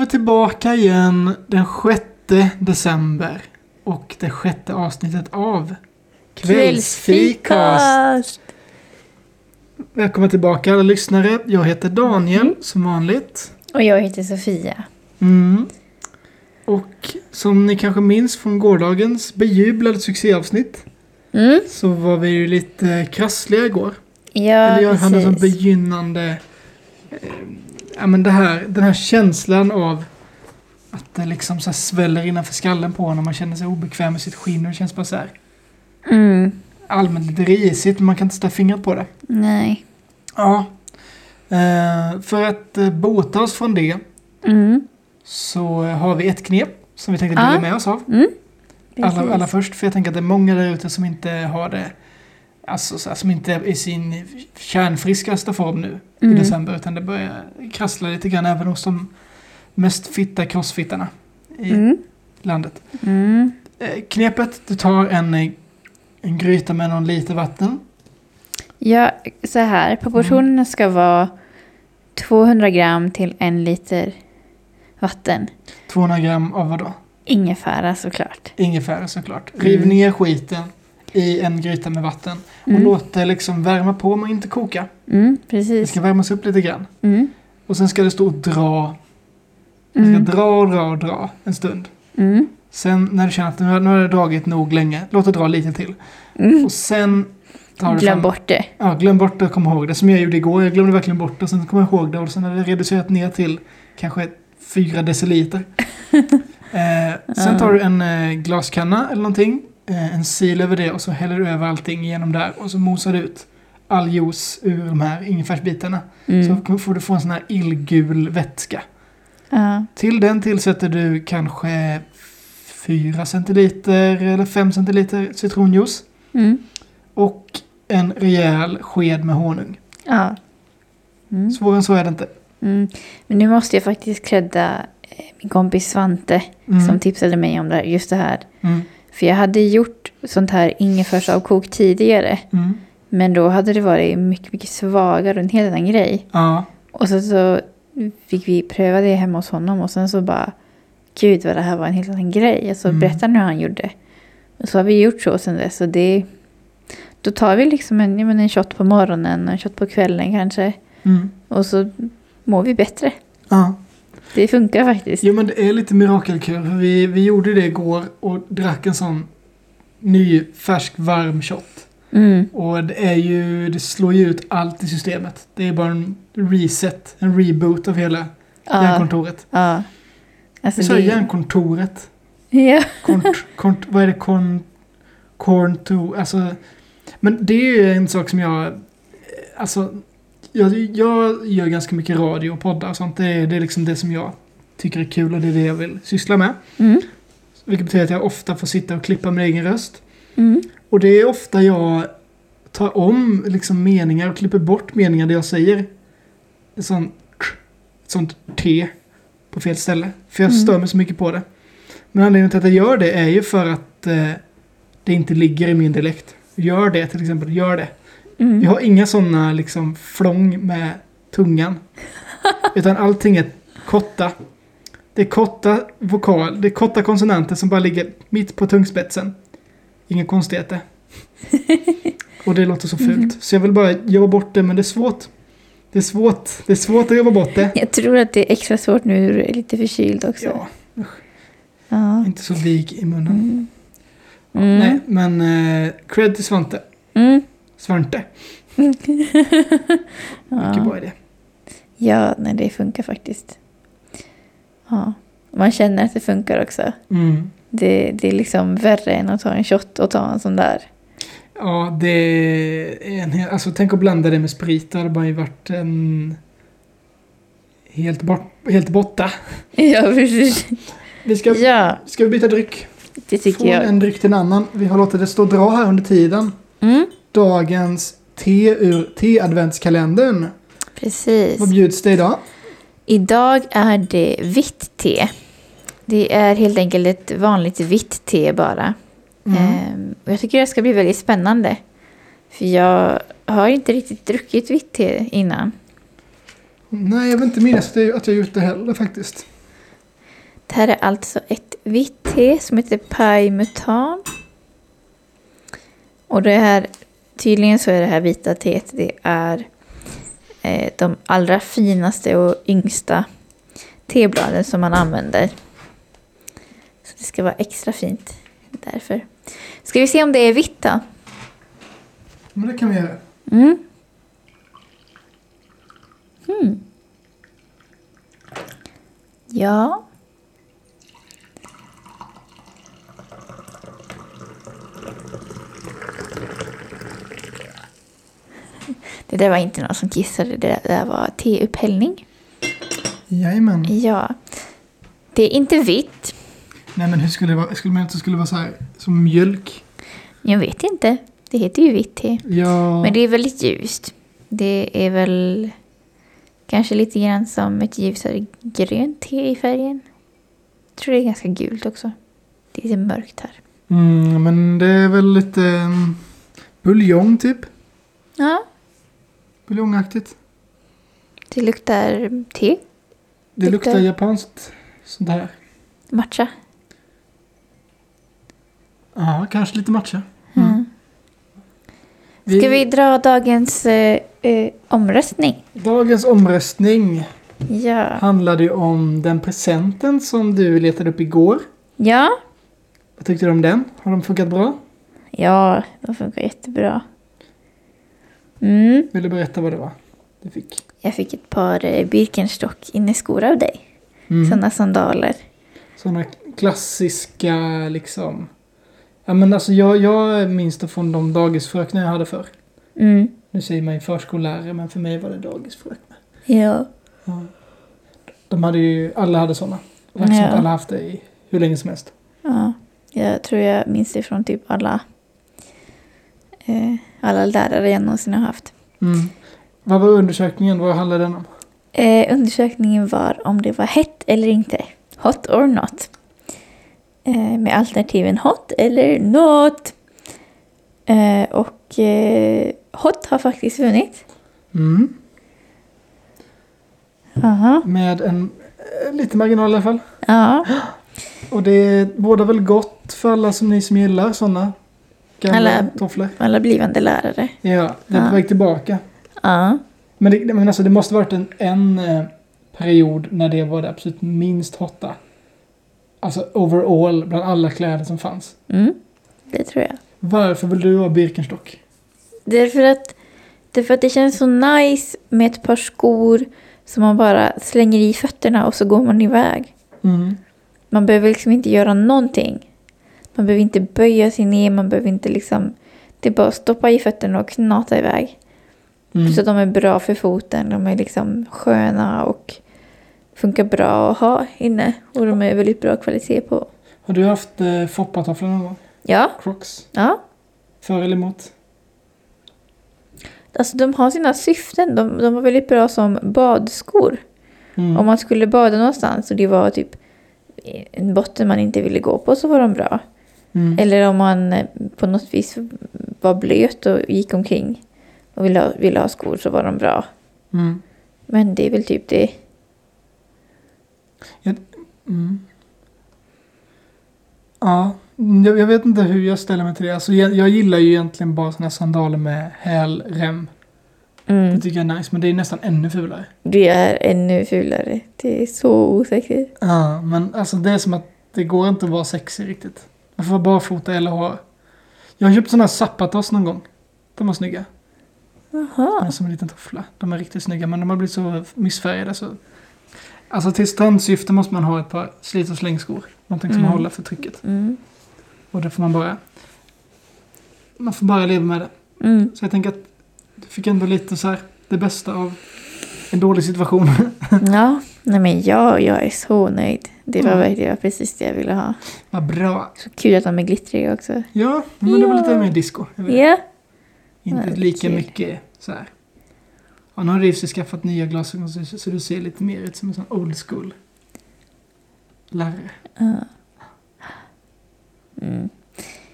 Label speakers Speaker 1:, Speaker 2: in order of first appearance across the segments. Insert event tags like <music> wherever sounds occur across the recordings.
Speaker 1: vi tillbaka igen den 6 december. Och det sjätte avsnittet av Välkomna tillbaka alla lyssnare. Jag heter Daniel som vanligt.
Speaker 2: Och jag heter Sofia.
Speaker 1: Mm. Och som ni kanske minns från gårdagens bejublade succéavsnitt
Speaker 2: Mm.
Speaker 1: så var vi ju lite krassliga igår.
Speaker 2: Ja,
Speaker 1: Eller jag hade som
Speaker 2: precis.
Speaker 1: begynnande... Eh, ja, men det här, den här känslan av att det liksom så här sväller innanför skallen på en och man känner sig obekväm i sitt skinn och det känns bara så här
Speaker 2: Mm.
Speaker 1: allmänt lite risigt men man kan inte sätta fingret på det.
Speaker 2: Nej.
Speaker 1: Ja. Eh, för att eh, bota oss från det
Speaker 2: Mm.
Speaker 1: så eh, har vi ett knep som vi tänkte dela
Speaker 2: Ja.
Speaker 1: med oss av.
Speaker 2: Precis.
Speaker 1: Alla, alla först, för jag tänker att det är många där ute som inte har det, alltså så här, som inte är i sin kärnfriskaste form nu
Speaker 2: Mm.
Speaker 1: i december, utan det börjar krassla lite grann även hos de mest fitta crossfittarna i
Speaker 2: Mm.
Speaker 1: landet.
Speaker 2: Mm.
Speaker 1: Eh, knepet, du tar en, eh, en gryta med någon liter vatten.
Speaker 2: Ja, så här. Proportionerna
Speaker 1: Mm.
Speaker 2: ska vara 200 gram till en liter vatten.
Speaker 1: 200 gram av vadå?
Speaker 2: Ingefära såklart.
Speaker 1: Ingefära såklart. Riv
Speaker 2: Mm.
Speaker 1: ner skiten i en gryta med vatten och
Speaker 2: Mm.
Speaker 1: låt det liksom värma på men inte koka.
Speaker 2: Mm,
Speaker 1: Det
Speaker 2: precis.
Speaker 1: ska värmas upp lite grann.
Speaker 2: Mm.
Speaker 1: Och sen ska det stå och dra. Det ska
Speaker 2: Mm.
Speaker 1: dra och dra och dra en stund.
Speaker 2: Mm.
Speaker 1: Sen när du känner att nu har, nu har det dragit nog länge, låt det dra lite till.
Speaker 2: Mm.
Speaker 1: Och sen tar du
Speaker 2: Glöm
Speaker 1: fram
Speaker 2: bort det.
Speaker 1: Ja, glöm bort det och kom ihåg det. Som jag gjorde igår, jag glömde verkligen bort det. Sen kom jag ihåg det och sen hade det reducerat ner till kanske fyra
Speaker 2: <laughs>
Speaker 1: deciliter. eh, sen tar du en eh, glaskanna eller någonting, eh, en sil över det och så häller du över allting genom där och så mosar du ut all juice ur de här ingefärsbitarna.
Speaker 2: Mm.
Speaker 1: Så får du få en sån här illgul vätska.
Speaker 2: Ja.
Speaker 1: Till den tillsätter du kanske 4 centiliter eller 5 centiliter citronjuice
Speaker 2: Mm.
Speaker 1: och en rejäl sked med honung.
Speaker 2: Ja. Mm.
Speaker 1: Svårare än så är det inte.
Speaker 2: Mm. Men nu måste jag faktiskt credda eh, min kompis Svante
Speaker 1: Mm.
Speaker 2: som tipsade mig om det här, just det här.
Speaker 1: Mm.
Speaker 2: För jag hade gjort sånt här ingefärsavkok tidigare.
Speaker 1: Mm.
Speaker 2: Men då hade det varit mycket, mycket svagare och en helt annan grej.
Speaker 1: Ja.
Speaker 2: Och så, så fick vi pröva det hemma hos honom och sen så bara Gud vad det här var en helt annan grej. Och så
Speaker 1: Mm.
Speaker 2: berättade han hur han gjorde. Och så har vi gjort så sen dess. Och det, då tar vi liksom en, ja, men en shot på morgonen och en shot på kvällen kanske.
Speaker 1: Mm.
Speaker 2: Och så mår vi bättre.
Speaker 1: ja.
Speaker 2: Det funkar faktiskt.
Speaker 1: Jo men det är lite mirakelkur. för Vi, vi gjorde det igår och drack en sån ny färsk varm shot.
Speaker 2: Mm.
Speaker 1: Och det är ju, det slår ju ut allt i systemet. Det är bara en reset, en reboot av hela
Speaker 2: Ja.
Speaker 1: hjärnkontoret.
Speaker 2: ja. Alltså
Speaker 1: Vi sa
Speaker 2: det-
Speaker 1: hjärnkontoret.
Speaker 2: <laughs> Ja.
Speaker 1: Kont, kont, vad är det? Kon, konto, alltså. Men det är ju en sak som jag, eh, alltså. Jag, jag gör ganska mycket radio och poddar och sånt. Det är, det är liksom det som jag tycker är kul och det är det jag vill syssla med.
Speaker 2: Mm.
Speaker 1: Vilket betyder att jag ofta får sitta och klippa min egen röst.
Speaker 2: Mm.
Speaker 1: Och det är ofta jag tar om liksom meningar och klipper bort meningar där jag säger ett sånt, ett sånt T på fel ställe. För jag
Speaker 2: Mm.
Speaker 1: stör mig så mycket på det. Men anledningen till att jag gör det är ju för att eh, det inte ligger i min dialekt. Gör det till exempel, gör det.
Speaker 2: Mm.
Speaker 1: Jag har inga sådana liksom flång med tungan. Utan allting är korta. Det är korta vokal, det är korta konsonanter som bara ligger mitt på tungspetsen. Inga konstigheter. Och det låter så fult.
Speaker 2: Mm.
Speaker 1: Så jag vill bara jobba bort det, men det är svårt. Det är svårt. Det är svårt att jobba bort det.
Speaker 2: Jag tror att det är extra svårt nu när du är lite förkyld också.
Speaker 1: Ja,
Speaker 2: Ja.
Speaker 1: inte så vig i munnen.
Speaker 2: Mm. Mm.
Speaker 1: Nej, men eh, cred till Svante.
Speaker 2: Mm.
Speaker 1: Svante, mycket
Speaker 2: ja.
Speaker 1: bra idé.
Speaker 2: ja, nej det funkar faktiskt. Ja. Man känner att det funkar också.
Speaker 1: Mm.
Speaker 2: Det, det är liksom värre än att ta en shot och ta en sån där. <laughs>
Speaker 1: Ja, det är en hel... Alltså tänk att blanda det med sprit. Det hade bara ju varit en... Helt, bort, helt borta.
Speaker 2: Ja, precis.
Speaker 1: Vi ska,
Speaker 2: Ja,
Speaker 1: ska vi byta dryck?
Speaker 2: det tycker
Speaker 1: Från
Speaker 2: jag.
Speaker 1: en dryck till en annan. Vi har låtit det stå och dra här under tiden.
Speaker 2: Mm.
Speaker 1: Dagens te ur te-adventskalendern.
Speaker 2: Precis.
Speaker 1: Vad bjuds det idag?
Speaker 2: Idag är det vitt te. Det är helt enkelt ett vanligt vitt te bara.
Speaker 1: Mm.
Speaker 2: Ehm, och jag tycker det ska bli väldigt spännande. För jag har inte riktigt druckit vitt te innan.
Speaker 1: Nej, jag vill inte minnas att jag- att jag gjort det heller faktiskt.
Speaker 2: Det här är alltså ett vitt te som heter Pai Mutan. Och det här, tydligen så är det här vita teet, det är eh, de allra finaste och yngsta tebladen som man använder. Så det ska vara extra fint därför. Ska vi se om det är vitt då?
Speaker 1: Men det kan vi göra.
Speaker 2: Mm. Mm. Ja. Det där var inte någon som kissade, det där var teupphällning.
Speaker 1: Jajamän.
Speaker 2: Ja. Det är inte vitt.
Speaker 1: Nej men hur skulle det vara? Skulle man inte skulle det vara så här som mjölk?
Speaker 2: Jag vet inte. Det heter ju vitt te.
Speaker 1: Ja.
Speaker 2: Men det är väldigt ljust. Det är väl kanske lite grann som ett ljusare grönt te i färgen. Jag tror det är ganska gult också. Det är lite mörkt här.
Speaker 1: Mm, men det är väl lite mm, buljong typ.
Speaker 2: Ja,
Speaker 1: Buljongaktigt.
Speaker 2: det luktar te.
Speaker 1: Det
Speaker 2: Luktar-
Speaker 1: luktar japanskt sånt här.
Speaker 2: Matcha.
Speaker 1: Ja, kanske lite matcha.
Speaker 2: Mm. Ska vi dra dagens eh, eh, omröstning?
Speaker 1: Dagens omröstning
Speaker 2: Ja.
Speaker 1: handlade ju om den presenten som du letade upp igår.
Speaker 2: Ja.
Speaker 1: Vad tyckte du om den? Har de funkat bra?
Speaker 2: Ja, de funkar jättebra. Mm.
Speaker 1: Vill du berätta vad det var du fick?
Speaker 2: Jag fick ett par eh, Birkenstock inneskor av dig.
Speaker 1: Mm.
Speaker 2: Sådana sandaler.
Speaker 1: Sådana klassiska liksom. Ja men alltså jag, jag minns det från de dagisfröknar jag hade förr.
Speaker 2: Mm.
Speaker 1: Nu säger man ju förskollärare men för mig var det dagisfröknar.
Speaker 2: Ja.
Speaker 1: Ja. De hade ju, alla hade sådana. Det verkar som
Speaker 2: Ja.
Speaker 1: att alla haft det i hur länge som helst.
Speaker 2: ja. Jag tror jag minns det från typ alla, eh, alla lärare jag någonsin har haft.
Speaker 1: Vad var undersökningen? Vad handlade den om?
Speaker 2: Eh, undersökningen var om det var hett eller inte. Hot or not. Eh, med alternativen hot eller not. Eh, och eh, hot har faktiskt vunnit.
Speaker 1: Mm.
Speaker 2: Aha.
Speaker 1: Med en eh, liten marginal i alla fall.
Speaker 2: Ja,
Speaker 1: Och det båda väl gott för alla som ni som gillar sådana gamla
Speaker 2: Alla-
Speaker 1: tofflor.
Speaker 2: alla blivande lärare.
Speaker 1: Ja, det är
Speaker 2: Ja.
Speaker 1: på väg tillbaka.
Speaker 2: Ja.
Speaker 1: Men, det, men alltså, det måste varit en, en eh, period när det var det absolut minst hotta. Alltså overall, bland alla kläder som fanns.
Speaker 2: Mm, det tror jag.
Speaker 1: Varför vill du ha Birkenstock?
Speaker 2: Därför att, därför att det känns så nice med ett par skor som man bara slänger i fötterna och så går man iväg.
Speaker 1: Mm.
Speaker 2: Man behöver liksom inte göra någonting. Man behöver inte böja sig ner, man behöver inte liksom... Det är bara att stoppa i fötterna och knata iväg.
Speaker 1: Mm.
Speaker 2: Så de är bra för foten, de är liksom sköna och funkar bra att ha inne. Och de är väldigt bra kvalitet på.
Speaker 1: Har du haft eh, foppatofflor någon gång?
Speaker 2: Ja,
Speaker 1: Crocs?
Speaker 2: ja.
Speaker 1: För eller emot?
Speaker 2: Alltså de har sina syften. De, de var väldigt bra som badskor.
Speaker 1: Mm.
Speaker 2: Om man skulle bada någonstans och det var typ en botten man inte ville gå på så var de bra.
Speaker 1: Mm.
Speaker 2: Eller om man eh, på något vis var blöt och gick omkring och ville ha, ville ha skor så var de bra.
Speaker 1: Mm.
Speaker 2: Men det är väl typ det.
Speaker 1: Mm. Ja, jag, jag vet inte hur jag ställer mig till det. Alltså, jag, jag gillar ju egentligen bara såna här sandaler med hälrem.
Speaker 2: Mm.
Speaker 1: Det tycker jag är nice, men det är nästan ännu fulare.
Speaker 2: Det är ännu fulare. Det är så osexigt.
Speaker 1: Ja, men alltså det är som att det går inte att vara sexig riktigt. Man får vara barfota eller ha... Jag har köpt sådana här Zapatos någon gång. De var snygga. De är
Speaker 2: Jaha.
Speaker 1: som en liten toffla. De är riktigt snygga, men de har blivit så missfärgade så... Alltså till strandsyfte måste man ha ett par slit och slängskor. Någonting som
Speaker 2: Mm.
Speaker 1: håller för trycket.
Speaker 2: Mm.
Speaker 1: Och det får man bara... Man får bara leva med det.
Speaker 2: Mm.
Speaker 1: Så jag tänker att du fick ändå lite så här det bästa av en dålig situation. <laughs>
Speaker 2: Ja, nej men jag, jag är så nöjd. Det var,
Speaker 1: Mm.
Speaker 2: det var precis det jag ville ha.
Speaker 1: Vad bra.
Speaker 2: Så kul att de är glittriga också.
Speaker 1: Ja, men det var
Speaker 2: Ja.
Speaker 1: lite mer disco. Jag vet.
Speaker 2: Ja.
Speaker 1: Inte
Speaker 2: Verkligen.
Speaker 1: lika mycket så här. Ja, nu har Rivsi skaffat nya glasögon så, så du ser lite mer ut som en sån old school lärare.
Speaker 2: Ja. Mm.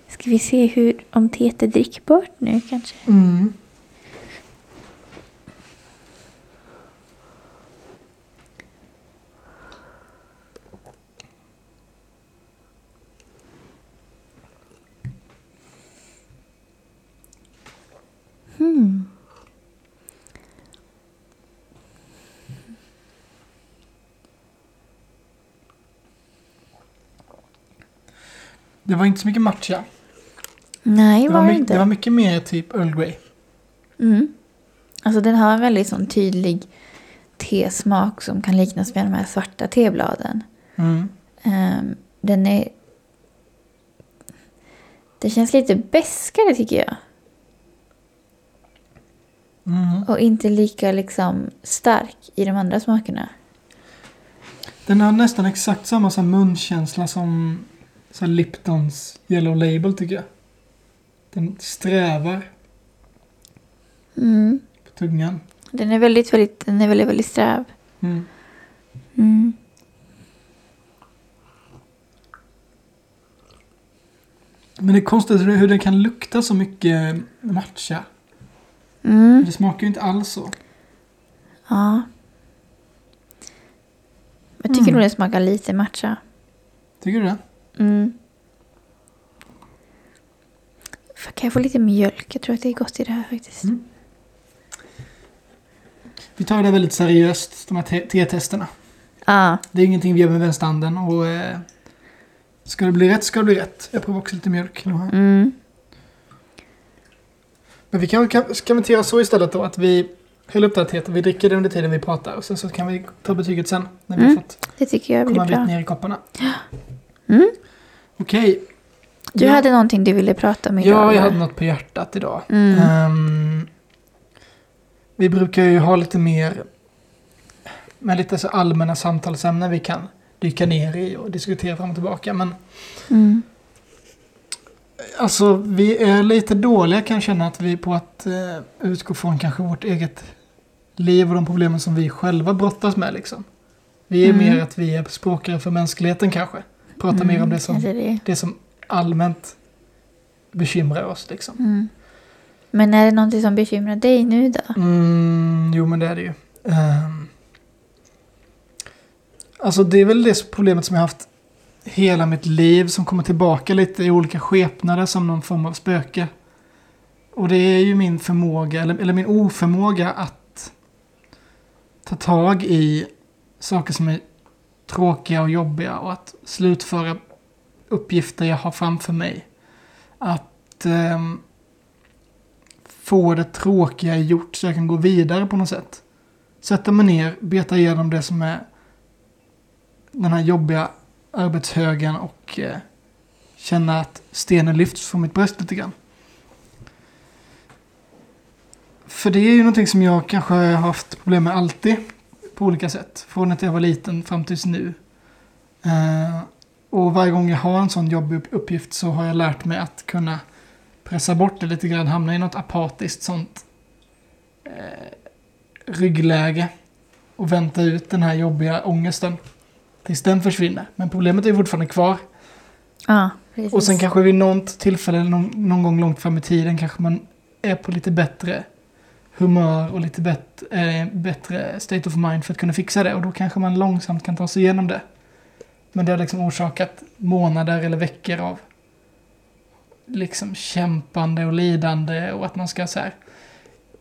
Speaker 2: Ska vi se hur, om teet är drickbart nu kanske?
Speaker 1: Mm.
Speaker 2: Hmm.
Speaker 1: Det var inte så mycket matcha.
Speaker 2: Nej,
Speaker 1: Det
Speaker 2: var
Speaker 1: var,
Speaker 2: det
Speaker 1: my-
Speaker 2: inte.
Speaker 1: det var mycket mer typ Earl Grey.
Speaker 2: Mm. Alltså den har en väldigt sån tydlig tesmak som kan liknas med de här svarta tebladen.
Speaker 1: Mm.
Speaker 2: Ehm, den är... Det känns lite beskare tycker jag.
Speaker 1: Mm.
Speaker 2: Och inte lika liksom stark i de andra smakerna.
Speaker 1: Den har nästan exakt samma så här munkänsla som så här Liptons Yellow Label tycker jag. Den strävar
Speaker 2: Mm.
Speaker 1: på tungan.
Speaker 2: Den är väldigt, väldigt, den är väldigt, väldigt sträv.
Speaker 1: Mm.
Speaker 2: Mm.
Speaker 1: Men det är konstigt hur hur den kan lukta så mycket matcha.
Speaker 2: Mm.
Speaker 1: Det smakar ju inte alls så.
Speaker 2: Ja. Jag tycker
Speaker 1: Mm.
Speaker 2: nog den smakar lite matcha.
Speaker 1: Tycker du det?
Speaker 2: Mm. Fan, Kan jag få lite mjölk? Jag tror att det är gott i det här faktiskt.
Speaker 1: Mm. Vi tar det väldigt seriöst, de här te- te-testerna.
Speaker 2: Ja.
Speaker 1: Det är ingenting vi gör med vänsterhanden och... Eh, ska det bli rätt ska det bli rätt. Jag provar också lite mjölk nu här.
Speaker 2: Mm.
Speaker 1: Men vi kan, kan, kan vi inte göra så istället då att vi häller upp det här teet och vi dricker det under tiden vi pratar och sen så kan vi ta betyget sen när vi har
Speaker 2: Mm.
Speaker 1: fått
Speaker 2: Det tycker jag blir
Speaker 1: komma
Speaker 2: bra.
Speaker 1: bit ner i kopparna.
Speaker 2: <gasps> Mm.
Speaker 1: Okej.
Speaker 2: Du
Speaker 1: Ja.
Speaker 2: hade någonting du ville prata om idag?
Speaker 1: Ja, jag
Speaker 2: va?
Speaker 1: hade något på hjärtat idag.
Speaker 2: Mm.
Speaker 1: Ehm, vi brukar ju ha lite mer med lite så allmänna samtalsämnen vi kan dyka ner i och diskutera fram och tillbaka. Men
Speaker 2: Mm.
Speaker 1: Alltså, vi är lite dåliga kan jag känna att vi på att eh, utgå från kanske vårt eget liv och de problemen som vi själva brottas med liksom. Vi är
Speaker 2: Mm.
Speaker 1: mer att vi är språkare för mänskligheten kanske. Pratar mer om det som,
Speaker 2: kanske Mm. det.
Speaker 1: det som allmänt bekymrar oss liksom.
Speaker 2: Mm. Men är det någonting som bekymrar dig nu då?
Speaker 1: Mm, jo men det är det ju. Ehm. alltså det är väl det problemet som jag haft hela mitt liv som kommer tillbaka lite i olika skepnader som någon form av spöke. Och det är ju min förmåga, eller, eller min oförmåga att ta tag i saker som är tråkiga och jobbiga och att slutföra uppgifter jag har framför mig. Att ehm, få det tråkiga gjort så jag kan gå vidare på något sätt. Sätta mig ner, beta igenom det som är den här jobbiga arbetshögen och eh, känna att stenen lyfts från mitt bröst lite grann. För det är ju någonting som jag kanske har haft problem med alltid på olika sätt. Från att jag var liten fram tills nu. Eh, och varje gång jag har en sån jobbig upp- uppgift så har jag lärt mig att kunna pressa bort det lite grann, hamna i något apatiskt sånt eh, ryggläge och vänta ut den här jobbiga ångesten tills den försvinner. Men problemet är fortfarande kvar.
Speaker 2: Ja, precis.
Speaker 1: Och sen kanske vid något tillfälle, eller någon, någon gång långt fram i tiden, kanske man är på lite bättre humör och lite bett, eh, bättre state of mind för att kunna fixa det. Och då kanske man långsamt kan ta sig igenom det. Men det har liksom orsakat månader eller veckor av liksom kämpande och lidande och att man ska så här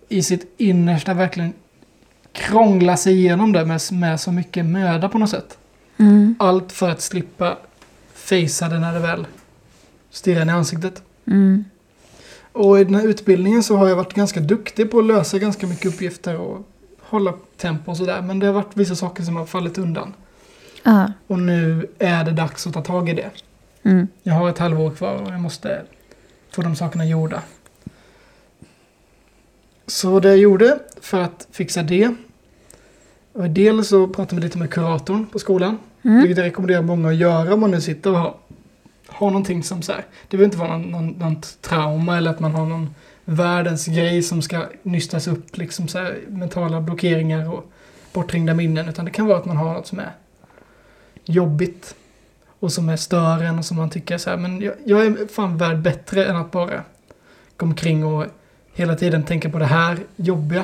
Speaker 1: i sitt innersta verkligen krångla sig igenom det med, med så mycket möda på något sätt.
Speaker 2: Mm.
Speaker 1: Allt för att slippa fejsa det när det väl stirrar en i ansiktet.
Speaker 2: Mm.
Speaker 1: Och i den här utbildningen så har jag varit ganska duktig på att lösa ganska mycket uppgifter och hålla tempo och sådär. Men det har varit vissa saker som har fallit undan.
Speaker 2: Ja.
Speaker 1: Och nu är det dags att ta tag i det.
Speaker 2: Mm.
Speaker 1: Jag har ett halvår kvar och jag måste få de sakerna gjorda. Så det jag gjorde för att fixa det. var Dels så pratade jag lite med kuratorn på skolan.
Speaker 2: Mm.
Speaker 1: Vilket jag rekommenderar många att göra om man nu sitter och har, har någonting som så här. Det behöver inte vara någon, någon, något trauma eller att man har någon världens grej som ska nystas upp. Liksom så här, mentala blockeringar och bortringda minnen. Utan det kan vara att man har något som är jobbigt. Och som är stören och som man tycker så här. Men jag, jag är fan värd bättre än att bara gå omkring och hela tiden tänka på det här jobbiga.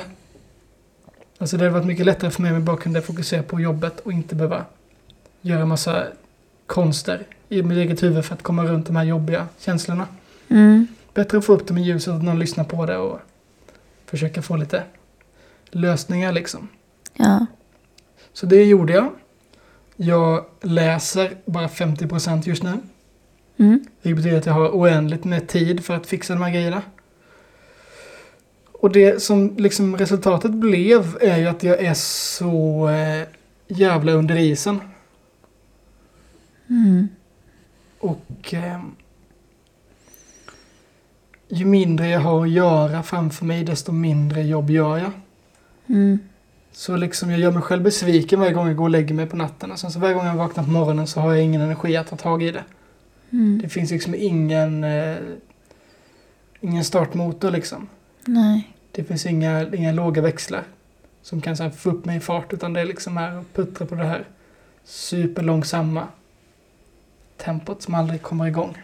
Speaker 1: Alltså det hade varit mycket lättare för mig om jag bara kunde fokusera på jobbet och inte behöva göra massa konster i mitt eget huvud för att komma runt de här jobbiga känslorna.
Speaker 2: Mm.
Speaker 1: Bättre att få upp dem i ljuset, att någon lyssnar på det och försöka få lite lösningar liksom.
Speaker 2: Ja.
Speaker 1: Så det gjorde jag. Jag läser bara 50% just nu.
Speaker 2: Mm.
Speaker 1: Vilket betyder att jag har oändligt med tid för att fixa de här grejerna. Och det som liksom resultatet blev är ju att jag är så eh, jävla under isen.
Speaker 2: Mm.
Speaker 1: Och eh, ju mindre jag har att göra framför mig desto mindre jobb gör jag.
Speaker 2: Mm.
Speaker 1: Så liksom jag gör mig själv besviken varje gång jag går och lägger mig på natten. Och sen så varje gång jag vaknar på morgonen så har jag ingen energi att ta tag i det.
Speaker 2: Mm.
Speaker 1: Det finns liksom ingen, eh, ingen startmotor liksom.
Speaker 2: Nej.
Speaker 1: Det finns inga, inga låga växlar som kan så här, få upp mig i fart utan det är liksom här och puttra på det här superlångsamma tempot som aldrig kommer igång.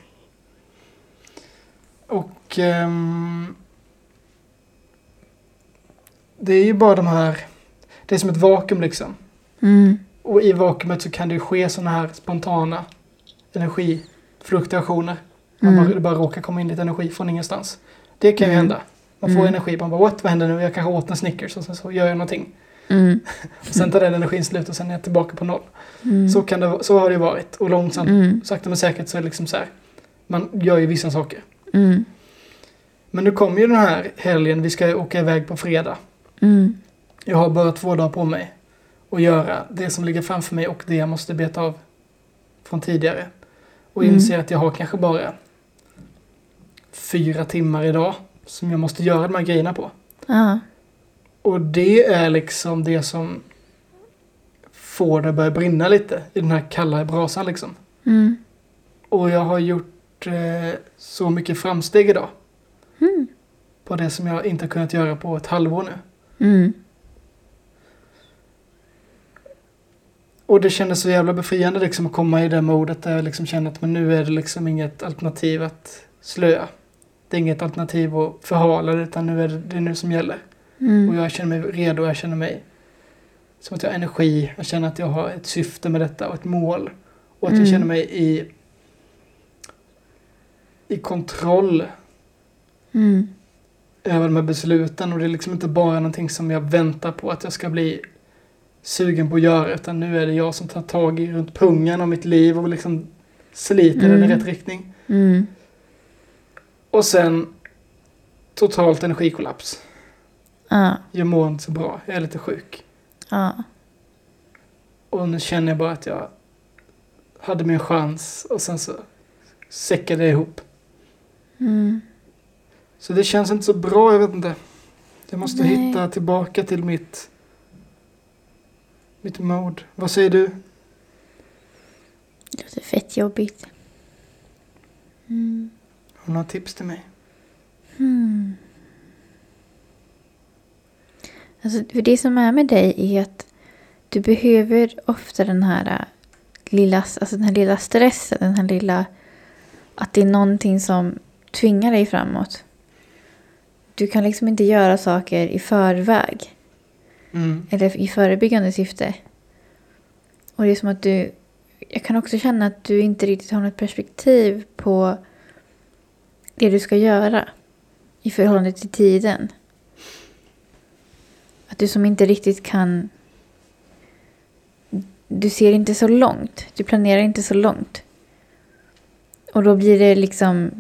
Speaker 1: Och ehm, det är ju bara de här, det är som ett vakuum liksom.
Speaker 2: Mm.
Speaker 1: Och i vakuumet så kan det ju ske sådana här spontana energifluktuationer. Man
Speaker 2: Mm.
Speaker 1: bara, det bara råkar komma in lite energi från ingenstans. Det kan ju
Speaker 2: Mm.
Speaker 1: hända. Man får
Speaker 2: Mm.
Speaker 1: energi, man bara what, vad händer nu? Jag kanske åt en Snickers och sen så gör jag någonting.
Speaker 2: Mm.
Speaker 1: Och sen tar den energin slut och sen är jag tillbaka på noll.
Speaker 2: Mm.
Speaker 1: Så, kan det, va- så har det ju varit. Och långsamt,
Speaker 2: Mm.
Speaker 1: sakta men säkert så är det liksom så här. Man gör ju vissa saker.
Speaker 2: Mm.
Speaker 1: Men nu kommer ju den här helgen, vi ska ju åka iväg på fredag.
Speaker 2: Mm.
Speaker 1: Jag har bara två dagar på mig att göra det som ligger framför mig och det jag måste beta av från tidigare. Och
Speaker 2: Mm.
Speaker 1: inser att jag har kanske bara fyra timmar idag som jag måste göra de här grejerna på.
Speaker 2: Ja.
Speaker 1: Och det är liksom det som får det att börja brinna lite i den här kalla brasan liksom.
Speaker 2: Mm.
Speaker 1: Och jag har gjort eh, så mycket framsteg idag
Speaker 2: Mm.
Speaker 1: på det som jag inte har kunnat göra på ett halvår nu.
Speaker 2: Mm.
Speaker 1: Och det kändes så jävla befriande liksom att komma i det modet där jag liksom känner att men nu är det liksom inget alternativ att slöa. Det är inget alternativ att förhala det, utan nu är det, det är nu som gäller.
Speaker 2: Mm.
Speaker 1: Och jag känner mig redo, jag känner mig som att jag har energi, jag känner att jag har ett syfte med detta och ett mål. Och att
Speaker 2: Mm.
Speaker 1: jag känner mig i, i kontroll
Speaker 2: Mm.
Speaker 1: över de här besluten och det är liksom inte bara någonting som jag väntar på att jag ska bli sugen på att göra utan nu är det jag som tar tag i runt pungen av mitt liv och liksom sliter den i
Speaker 2: Mm.
Speaker 1: rätt riktning.
Speaker 2: Mm.
Speaker 1: Och sen totalt energikollaps.
Speaker 2: Ja.
Speaker 1: Jag mår inte så bra, jag är lite sjuk.
Speaker 2: Ja.
Speaker 1: Och nu känner jag bara att jag hade min chans och sen så säckade jag ihop.
Speaker 2: Mm.
Speaker 1: Så det känns inte så bra, jag vet inte. Jag måste
Speaker 2: Nej.
Speaker 1: hitta tillbaka till mitt, mitt mode. Vad säger du?
Speaker 2: Det låter fett jobbigt. Mm.
Speaker 1: Har du några tips till mig?
Speaker 2: Hmm. Alltså, för det som är med dig är att du behöver ofta den här äh, lilla, alltså den här lilla stressen, den här lilla... Att det är någonting som tvingar dig framåt. Du kan liksom inte göra saker i förväg.
Speaker 1: Mm.
Speaker 2: Eller i förebyggande syfte. Och det är som att du... Jag kan också känna att du inte riktigt har något perspektiv på det du ska göra i förhållande till tiden. Att du som inte riktigt kan... Du ser inte så långt. Du planerar inte så långt. Och då blir det liksom...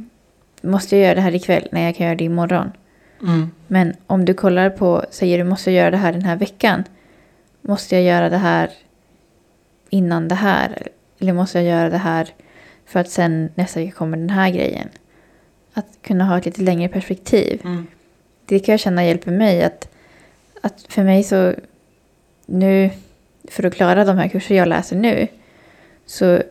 Speaker 2: Måste jag göra det här ikväll? Nej, jag kan göra det imorgon.
Speaker 1: Mm.
Speaker 2: Men om du kollar på, säger du måste jag göra det här den här veckan. Måste jag göra det här innan det här? Eller måste jag göra det här för att sen nästa vecka kommer den här grejen? Att kunna ha ett lite längre perspektiv.
Speaker 1: Mm.
Speaker 2: Det kan jag känna hjälper mig att, att för mig så nu, för att klara de här kurser jag läser nu, så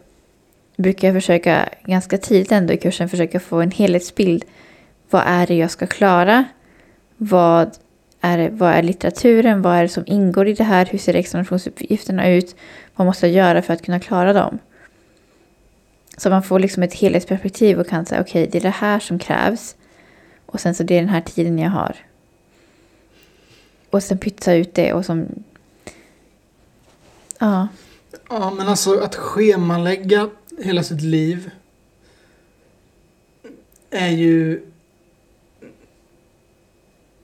Speaker 2: brukar jag försöka ganska tidigt ändå i kursen försöka få en helhetsbild. Vad är det jag ska klara? Vad är, vad är litteraturen? Vad är det som ingår i det här? Hur ser examinationsuppgifterna ut? Vad måste jag göra för att kunna klara dem? Så man får liksom ett helhetsperspektiv och kan säga okej, det är det här som krävs. Och sen så det är den här tiden jag har. Och sen pytsa ut det och som... Ja.
Speaker 1: Ja, men alltså att schemalägga hela sitt liv är ju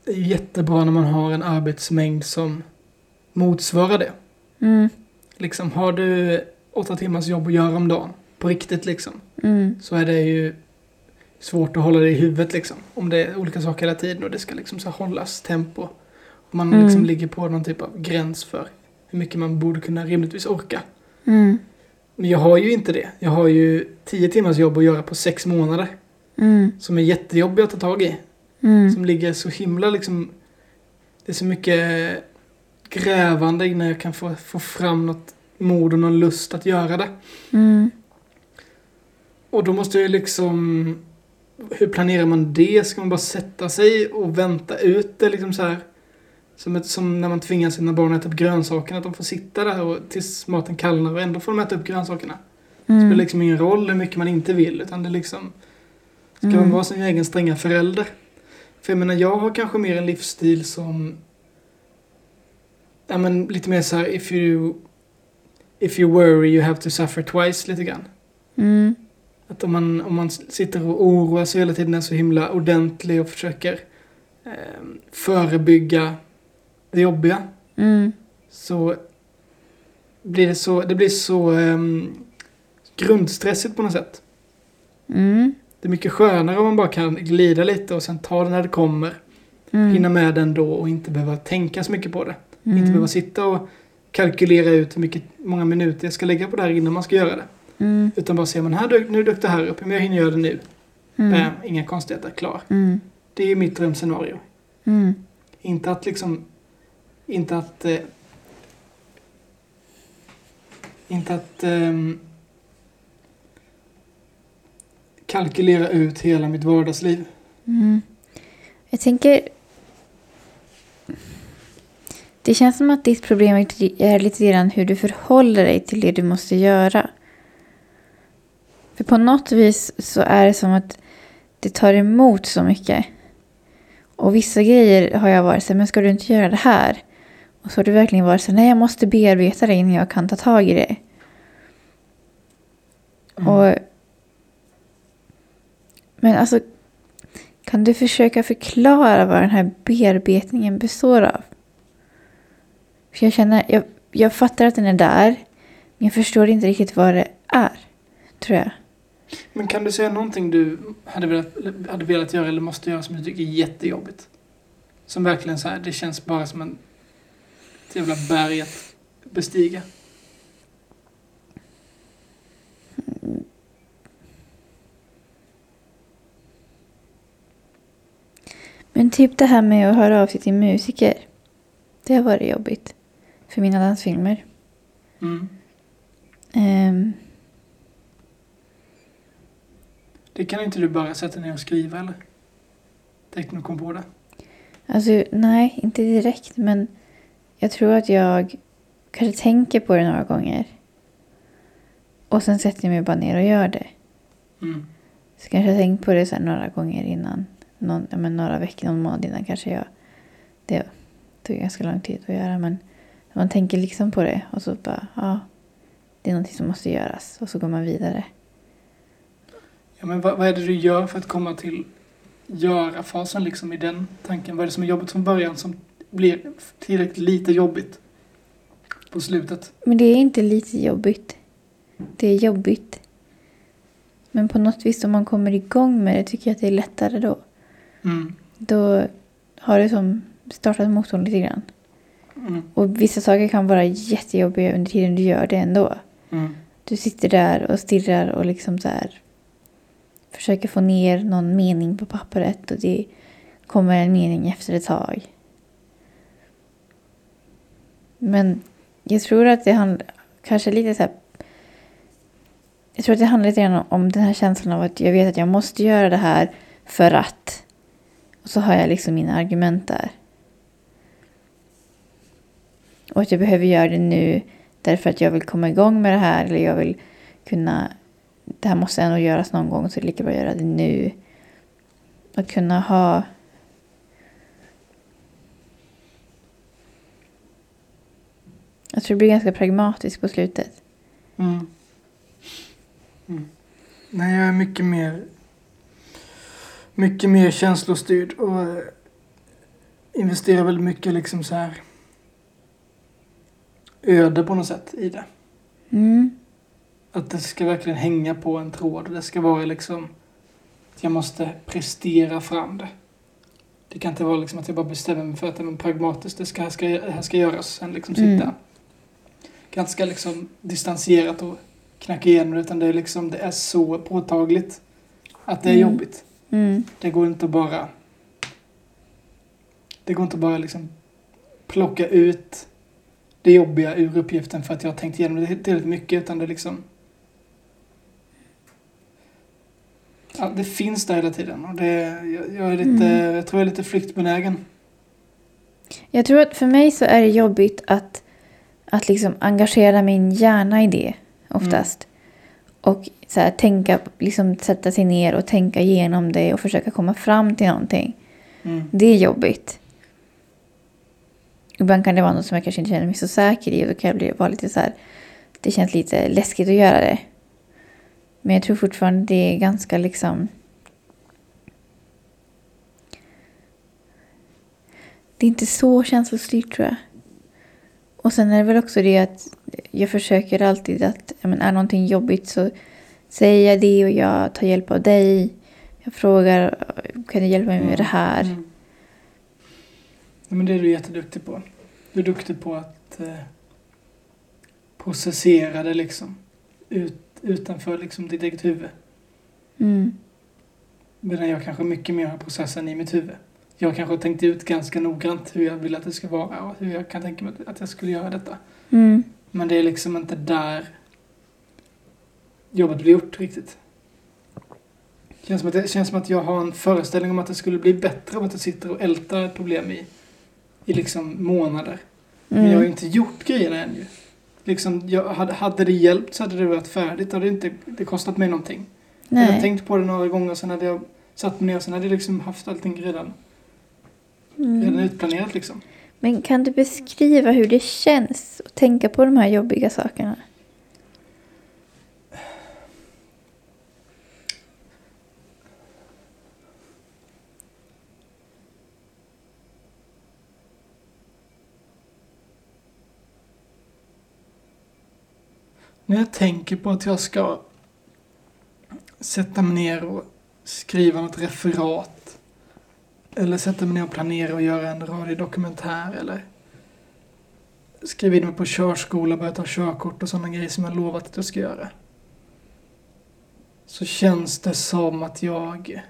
Speaker 1: är ju jättebra när man har en arbetsmängd som motsvarar det.
Speaker 2: Mm,
Speaker 1: Liksom, har du åtta timmars jobb att göra om dagen, på riktigt liksom,
Speaker 2: Mm.
Speaker 1: så är det ju svårt att hålla det i huvudet liksom. Om det är olika saker hela tiden och det ska liksom så här hållas tempo. Om man
Speaker 2: Mm.
Speaker 1: liksom ligger på någon typ av gräns för hur mycket man borde kunna rimligtvis orka.
Speaker 2: Mm.
Speaker 1: Men jag har ju inte det. Jag har ju tio timmars jobb att göra på sex månader.
Speaker 2: Mm.
Speaker 1: Som är jättejobbiga att ta tag i.
Speaker 2: Mm.
Speaker 1: Som ligger så himla liksom... Det är så mycket grävande innan jag kan få, få fram något mod och någon lust att göra det.
Speaker 2: Mm.
Speaker 1: Och då måste jag ju liksom... Hur planerar man det? Ska man bara sätta sig och vänta ut det liksom så här? Som, ett, som när man tvingar sina barn att äta upp grönsakerna, att de får sitta där och, tills maten kallnar och ändå får de äta upp grönsakerna. Det spelar
Speaker 2: Mm.
Speaker 1: liksom ingen roll hur mycket man inte vill, utan det liksom... Ska man
Speaker 2: Mm.
Speaker 1: vara sin egen stränga förälder? För jag menar, jag har kanske mer en livsstil som... Ja, men lite mer så här, if you... If you worry you have to suffer twice, lite grann.
Speaker 2: Mm.
Speaker 1: Att om man, om man sitter och oroar sig hela tiden är så himla ordentlig och försöker eh, förebygga det jobbiga
Speaker 2: Mm.
Speaker 1: så blir det så, det blir så eh, grundstressigt på något sätt.
Speaker 2: Mm.
Speaker 1: Det är mycket skönare om man bara kan glida lite och sen ta det när det kommer,
Speaker 2: Mm.
Speaker 1: hinna med den då och inte behöva tänka så mycket på det.
Speaker 2: Mm.
Speaker 1: Inte behöva sitta och kalkylera ut hur mycket, många minuter jag ska lägga på det här innan man ska göra det.
Speaker 2: Mm.
Speaker 1: Utan bara se, men här dök, nu dök det här upp, men jag hinner göra det nu.
Speaker 2: Mm.
Speaker 1: Bam, inga konstigheter, klar.
Speaker 2: Mm.
Speaker 1: Det är ju mitt drömscenario.
Speaker 2: Mm.
Speaker 1: Inte att liksom... Inte att... Eh, inte att... ehm, kalkylera ut hela mitt vardagsliv.
Speaker 2: Mm. Jag tänker... Det känns som att ditt problem är lite grann hur du förhåller dig till det du måste göra. För på något vis så är det som att det tar emot så mycket. Och vissa grejer har jag varit så här, men ska du inte göra det här? Och så har du verkligen varit så här, nej jag måste bearbeta det innan jag kan ta tag i det. Mm. Och, men alltså, kan du försöka förklara vad den här bearbetningen består av? För jag känner, jag, jag fattar att den är där, men jag förstår inte riktigt vad det är, tror jag.
Speaker 1: Men kan du säga någonting du hade velat, eller hade velat göra eller måste göra som du tycker är jättejobbigt? Som verkligen så här, det känns bara som en... Ett jävla berg att bestiga.
Speaker 2: Men typ det här med att höra av sig till musiker. Det har varit jobbigt för mina dansfilmer.
Speaker 1: Mm.
Speaker 2: Ehm,
Speaker 1: Det kan inte du bara sätta ner och skriva eller? Direkt när du kom på det.
Speaker 2: Alltså, nej, inte direkt, men jag tror att jag kanske tänker på det några gånger. Och sen sätter jag mig bara ner och gör det.
Speaker 1: Mm.
Speaker 2: Så kanske jag tänkt på det så här några gånger innan. Någon, ja, men några veckor, någon månad innan kanske jag... Det tog ganska lång tid att göra, men man tänker liksom på det och så bara, ja, det är någonting som måste göras. Och så går man vidare.
Speaker 1: Ja, men vad, vad är det du gör för att komma till göra-fasen liksom i den tanken? Vad är det som är jobbigt från början som blir tillräckligt lite jobbigt på slutet?
Speaker 2: Men det är inte lite jobbigt. Det är jobbigt. Men på något vis om man kommer igång med det tycker jag att det är lättare då.
Speaker 1: Mm.
Speaker 2: Då har det som startat motorn lite grann.
Speaker 1: Mm.
Speaker 2: Och vissa saker kan vara jättejobbiga under tiden du gör det ändå.
Speaker 1: Mm.
Speaker 2: Du sitter där och stirrar och liksom så här försöker få ner någon mening på pappret och det kommer en mening efter ett tag. Men jag tror att det handlar kanske lite så här. Jag tror att det handlar lite grann om den här känslan av att jag vet att jag måste göra det här för att. Och så har jag liksom mina argument där. Och att jag behöver göra det nu därför att jag vill komma igång med det här eller jag vill kunna... Det här måste ändå göras någon gång så det är lika bra att göra det nu. Att kunna ha... Jag tror det blir ganska pragmatiskt på slutet.
Speaker 1: Mm. Mm. Nej, jag är mycket mer mycket mer känslostyrd och eh, investerar väldigt mycket liksom så här öde på något sätt i det.
Speaker 2: Mm.
Speaker 1: Att det ska verkligen hänga på en tråd. Det ska vara liksom... att Jag måste prestera fram det. Det kan inte vara liksom att jag bara bestämmer mig för att det är pragmatiskt. Det ska, här, ska, det här ska göras. Sen liksom
Speaker 2: Mm.
Speaker 1: sitta ganska liksom distanserat och knacka igenom det. Utan det är liksom, det är så påtagligt att det är
Speaker 2: Mm.
Speaker 1: jobbigt.
Speaker 2: Mm.
Speaker 1: Det går inte att bara... Det går inte att bara liksom plocka ut det jobbiga ur uppgiften för att jag har tänkt igenom det tillräckligt mycket utan det liksom... Ja, det finns där hela tiden och det, jag, jag, är lite,
Speaker 2: Mm.
Speaker 1: jag tror jag är lite flyktbenägen.
Speaker 2: Jag tror att för mig så är det jobbigt att, att liksom engagera min hjärna i det oftast. Och så här, tänka, liksom sätta sig ner och tänka igenom det och försöka komma fram till någonting.
Speaker 1: Mm.
Speaker 2: Det är jobbigt. Ibland kan det vara något som jag kanske inte känner mig så säker i och då kan jag bli, vara lite så här, det känns lite läskigt att göra det. Men jag tror fortfarande det är ganska liksom... Det är inte så känslostyrt tror jag. Och sen är det väl också det att jag försöker alltid att, ja, men är någonting jobbigt så säger jag det och jag tar hjälp av dig. Jag frågar, kan du hjälpa mig med det här?
Speaker 1: Mm. Ja, men det är du jätteduktig på. Du är duktig på att eh, processera det liksom. Ut, utanför liksom ditt eget huvud.
Speaker 2: Mm.
Speaker 1: Medan jag kanske mycket mer har processen i mitt huvud. Jag kanske har tänkt ut ganska noggrant hur jag vill att det ska vara och hur jag kan tänka mig att- att jag skulle göra detta.
Speaker 2: Mm.
Speaker 1: Men det är liksom inte där jobbet blir gjort riktigt. Känns som att det känns som att jag har en föreställning om att det skulle bli bättre om att jag sitter och ältar ett problem i, i liksom månader. Men
Speaker 2: Mm.
Speaker 1: jag har ju inte gjort grejerna än ju. Liksom, jag, hade, hade det hjälpt så hade det varit färdigt. Det hade inte det kostat mig någonting. Jag
Speaker 2: Nej.
Speaker 1: hade tänkt på det några gånger sen hade jag satt mig ner och sen hade jag liksom haft allting redan, redan
Speaker 2: Mm.
Speaker 1: utplanerat liksom.
Speaker 2: Men kan du beskriva hur det känns att tänka på de här jobbiga sakerna?
Speaker 1: När jag tänker på att jag ska sätta mig ner och skriva något referat eller sätta mig ner och planera och göra en radiodokumentär eller skriva in mig på körskola, börja ta körkort och sådana grejer som jag lovat att jag ska göra. Så känns det som att jag...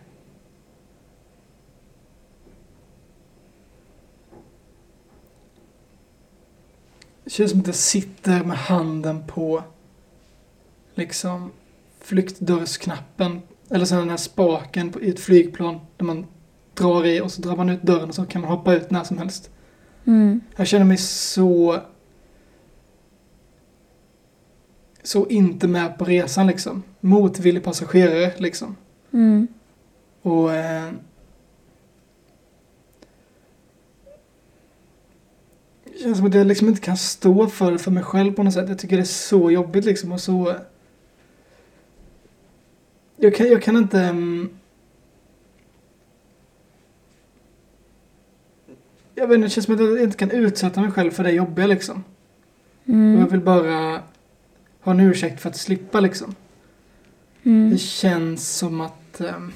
Speaker 1: Det känns som att jag sitter med handen på liksom flyktdörrsknappen. Eller så den här spaken på, i ett flygplan där man drar i och så drar man ut dörren och så kan man hoppa ut när som helst.
Speaker 2: Mm.
Speaker 1: Jag känner mig så... Så inte med på resan liksom. Motvillig passagerare liksom.
Speaker 2: Mm.
Speaker 1: Och... Eh, det känns som att jag liksom inte kan stå för det för mig själv på något sätt. Jag tycker det är så jobbigt liksom och så... Jag kan, jag kan inte... mm, Jag vet inte, det känns som att jag inte kan utsätta mig själv för det jobbiga liksom. Och
Speaker 2: Mm.
Speaker 1: jag vill bara ha en ursäkt för att slippa liksom.
Speaker 2: Mm.
Speaker 1: Det känns som att ehm,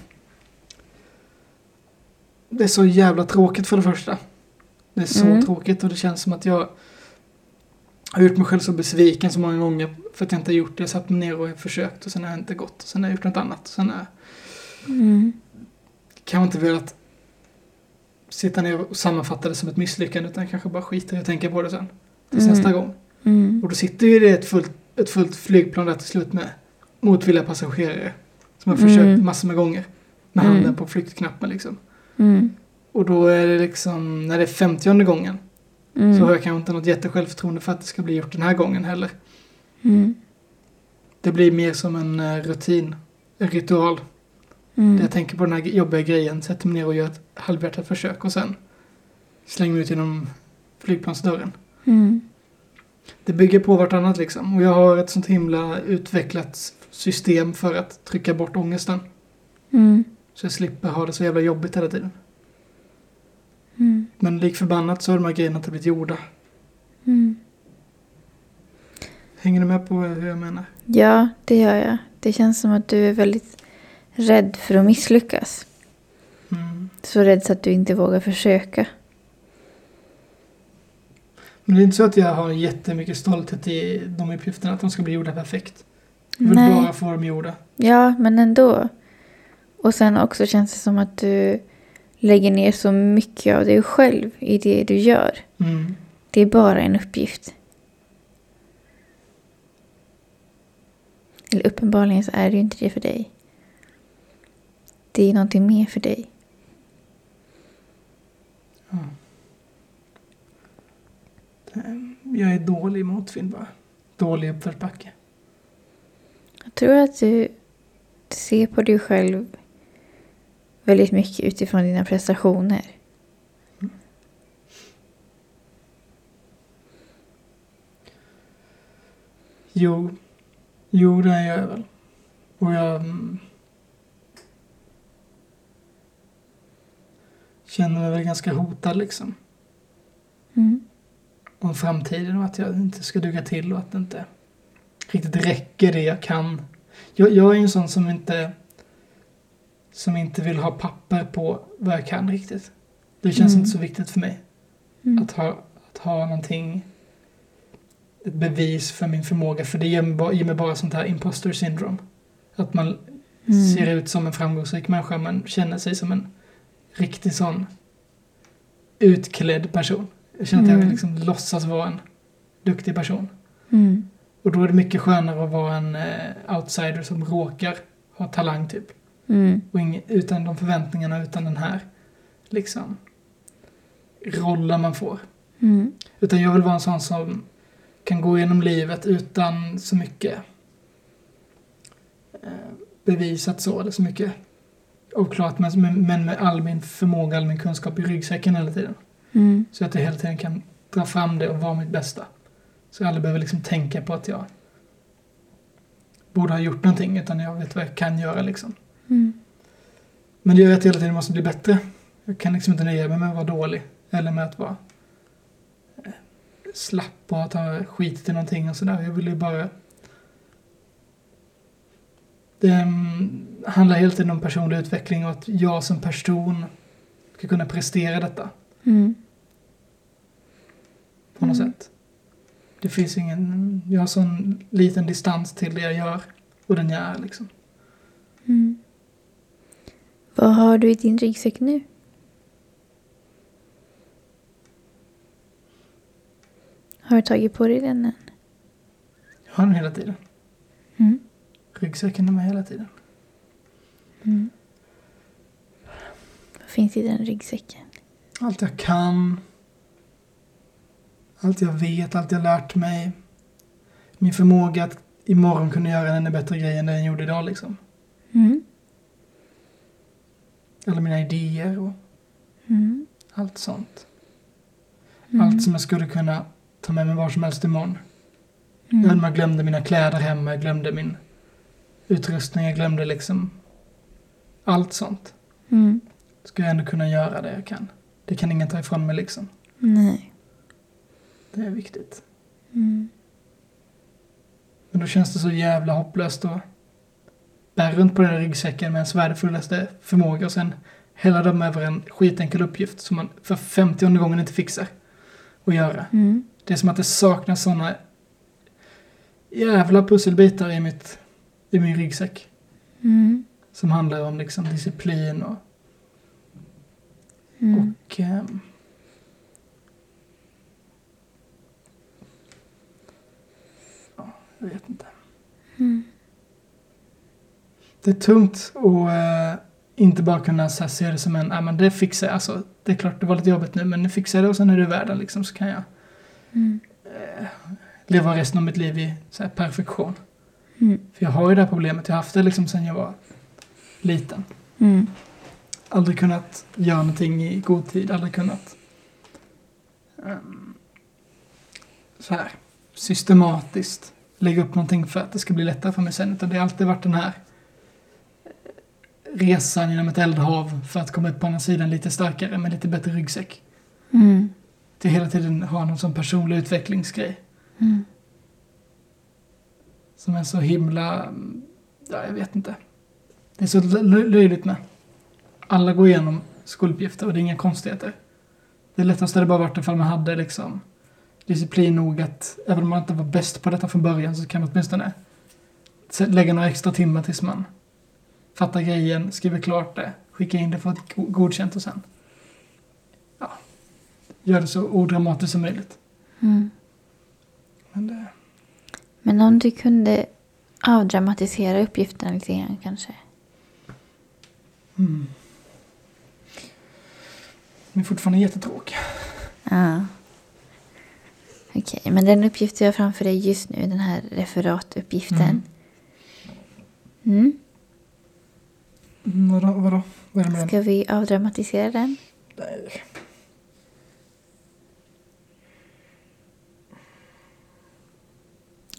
Speaker 1: det är så jävla tråkigt för det första. Det är så
Speaker 2: Mm.
Speaker 1: tråkigt och det känns som att jag har gjort mig själv så besviken så många gånger för att jag inte har gjort det. Jag satt mig ner och försökt och sen har jag inte gått. Och sen har jag gjort något annat. Och sen har jag
Speaker 2: Mm.
Speaker 1: kanske inte velat sitta ner och sammanfatta det som ett misslyckande utan kanske bara skiter i att tänka på det sen. Tills
Speaker 2: Mm.
Speaker 1: nästa gång.
Speaker 2: Mm.
Speaker 1: Och då sitter ju det ett fullt, ett fullt flygplan där till slut med motvilliga passagerare. Som har försökt
Speaker 2: Mm.
Speaker 1: massor med gånger. Med
Speaker 2: Mm.
Speaker 1: handen på flyktknappen liksom.
Speaker 2: Mm.
Speaker 1: Och då är det liksom, när det är femtionde gången. Så har
Speaker 2: Mm.
Speaker 1: jag kanske inte något jättesjälvförtroende för att det ska bli gjort den här gången heller.
Speaker 2: Mm.
Speaker 1: Det blir mer som en eh, rutin. En ritual.
Speaker 2: Mm.
Speaker 1: Där jag tänker på den här jobbiga grejen. Sätter mig ner och gör ett halvhjärtat försök. Och sen slänger mig ut genom flygplansdörren.
Speaker 2: Mm.
Speaker 1: Det bygger på vartannat liksom. Och jag har ett sånt himla utvecklat system för att trycka bort ångesten.
Speaker 2: Mm.
Speaker 1: Så jag slipper ha det så jävla jobbigt hela tiden.
Speaker 2: Mm.
Speaker 1: Men lik förbannat så har de här grejerna inte blivit gjorda.
Speaker 2: Mm.
Speaker 1: Hänger du med på hur jag menar?
Speaker 2: Ja, det gör jag. Det känns som att du är väldigt rädd för att misslyckas.
Speaker 1: Mm.
Speaker 2: Så rädd så att du inte vågar försöka.
Speaker 1: Men det är inte så att jag har jättemycket stolthet i de uppgifterna, att de ska bli gjorda perfekt. Jag vill
Speaker 2: Nej.
Speaker 1: bara få dem gjorda.
Speaker 2: Ja, men ändå. Och sen också känns det som att du lägger ner så mycket av dig själv i det du gör.
Speaker 1: Mm.
Speaker 2: Det är bara en uppgift. Eller uppenbarligen så är det ju inte det för dig. Det är någonting mer för dig.
Speaker 1: Eh, Jag är dålig i motvind bara. Dålig i uppförsbacke.
Speaker 2: Jag tror att du ser på dig själv väldigt mycket utifrån dina prestationer.
Speaker 1: Jo, jo det är jag väl. Och jag mm, känner mig väl ganska hotad liksom.
Speaker 2: Mm.
Speaker 1: Om framtiden och att jag inte ska duga till och att det inte riktigt räcker det jag kan. Jag, jag är ju en sån som inte som inte vill ha papper på vad jag kan riktigt. Det känns
Speaker 2: Mm.
Speaker 1: inte så viktigt för mig.
Speaker 2: Mm.
Speaker 1: Att ha, att ha någonting, ett bevis för min förmåga. För det ger mig bara, ger mig bara sånt här imposter syndrome. Att man ser ut som en framgångsrik människa men känner sig som en riktig sån utklädd person. Jag känner att jag
Speaker 2: Mm.
Speaker 1: vill liksom låtsas vara en duktig person.
Speaker 2: Mm.
Speaker 1: Och då är det mycket skönare att vara en eh, outsider som råkar ha talang typ.
Speaker 2: Mm.
Speaker 1: Och ing, utan de förväntningarna, utan den här liksom rollen man får.
Speaker 2: Mm.
Speaker 1: Utan jag vill vara en sån som kan gå genom livet utan så mycket eh, bevisat så, eller så mycket oklart, men, men- men med all min förmåga, all min kunskap i ryggsäcken hela tiden.
Speaker 2: Mm.
Speaker 1: Så att jag hela tiden kan dra fram det och vara mitt bästa. Så jag aldrig behöver liksom tänka på att jag borde ha gjort någonting, utan jag vet vad jag kan göra liksom.
Speaker 2: Mm.
Speaker 1: Men det gör att jag hela tiden måste bli bättre. Jag kan liksom inte nöja mig med att vara dålig. Eller med att vara eh, slapp och att ha skitit i någonting och sådär. Jag vill ju bara... Det mm, handlar hela tiden om personlig utveckling och att jag som person ska kunna prestera detta
Speaker 2: Mm.
Speaker 1: på något
Speaker 2: Mm.
Speaker 1: sätt. Det finns ingen... Jag har sån liten distans till det jag gör och den jag är liksom.
Speaker 2: Mm. Vad har du i din ryggsäck nu? Har du tagit på dig den än?
Speaker 1: Jag har den hela tiden.
Speaker 2: Mm.
Speaker 1: Ryggsäcken är med hela tiden.
Speaker 2: Mm. Vad finns i den ryggsäcken?
Speaker 1: Allt jag kan. Allt jag vet, allt jag lärt mig. Min förmåga att imorgon kunna göra en ännu bättre grej än den jag gjorde idag liksom.
Speaker 2: Mm.
Speaker 1: Alla mina idéer och
Speaker 2: Mm.
Speaker 1: allt sånt.
Speaker 2: Mm.
Speaker 1: Allt som jag skulle kunna ta med mig var som helst imorgon.
Speaker 2: Mm.
Speaker 1: Mm. Jag glömde mina kläder hemma, jag glömde min utrustning, jag glömde liksom allt sånt.
Speaker 2: Mm.
Speaker 1: Ska jag ändå kunna göra det jag kan. Det kan ingen ta ifrån mig liksom.
Speaker 2: Nej.
Speaker 1: Det är viktigt.
Speaker 2: Mm.
Speaker 1: Men då känns det så jävla hopplöst att bära runt på den här ryggsäcken med ens värdefullaste förmåga och sen hälla dem över en skitenkel uppgift som man för femtionde gången inte fixar att göra.
Speaker 2: Mm.
Speaker 1: Det är som att det saknas sådana jävla pusselbitar i, mitt, i min ryggsäck
Speaker 2: Mm.
Speaker 1: som handlar om liksom disciplin och,
Speaker 2: Mm.
Speaker 1: och ehm, ja, jag vet inte.
Speaker 2: Mm.
Speaker 1: Det är tungt att eh, inte bara kunna så här, se det som en, ah, men det fixar jag, alltså det är klart det var lite jobbigt nu men nu fixar jag det och sen är det i världen liksom så kan jag
Speaker 2: Mm.
Speaker 1: leva resten av mitt liv i så här, perfektion.
Speaker 2: Mm.
Speaker 1: För jag har ju det här problemet, jag har haft det liksom sen jag var liten.
Speaker 2: Mm.
Speaker 1: Aldrig kunnat göra någonting i god tid, aldrig kunnat ehm, så här systematiskt lägga upp någonting för att det ska bli lättare för mig sen. Utan det har alltid varit den här resan genom ett eldhav för att komma ut på andra sidan lite starkare med lite bättre ryggsäck.
Speaker 2: Mm.
Speaker 1: Till hela tiden ha någon sån personlig utvecklingsgrej.
Speaker 2: Mm.
Speaker 1: Som är så himla... Ja, jag vet inte. Det är så lö- löjligt med. Alla går igenom skoluppgifter och det är inga konstigheter. Det lättaste hade bara varit ifall man hade liksom disciplin nog att även om man inte var bäst på detta från början så kan man åtminstone se- lägga några extra timmar tills man fattar grejen, skriver klart det, skickar in det för ett go- godkänt och sen ja, gör det så odramatiskt som möjligt.
Speaker 2: Mm.
Speaker 1: Men det,
Speaker 2: Men om du kunde avdramatisera uppgiften lite grann kanske?
Speaker 1: mm. Men fortfarande jättetråkig.
Speaker 2: Ja. Okej, men den uppgift jag har framför dig just nu, den här referatuppgiften. Mm.
Speaker 1: Mm, Vadå? Vadå? Vad är det med den?
Speaker 2: Mm. Ska vi avdramatisera den?
Speaker 1: Nej.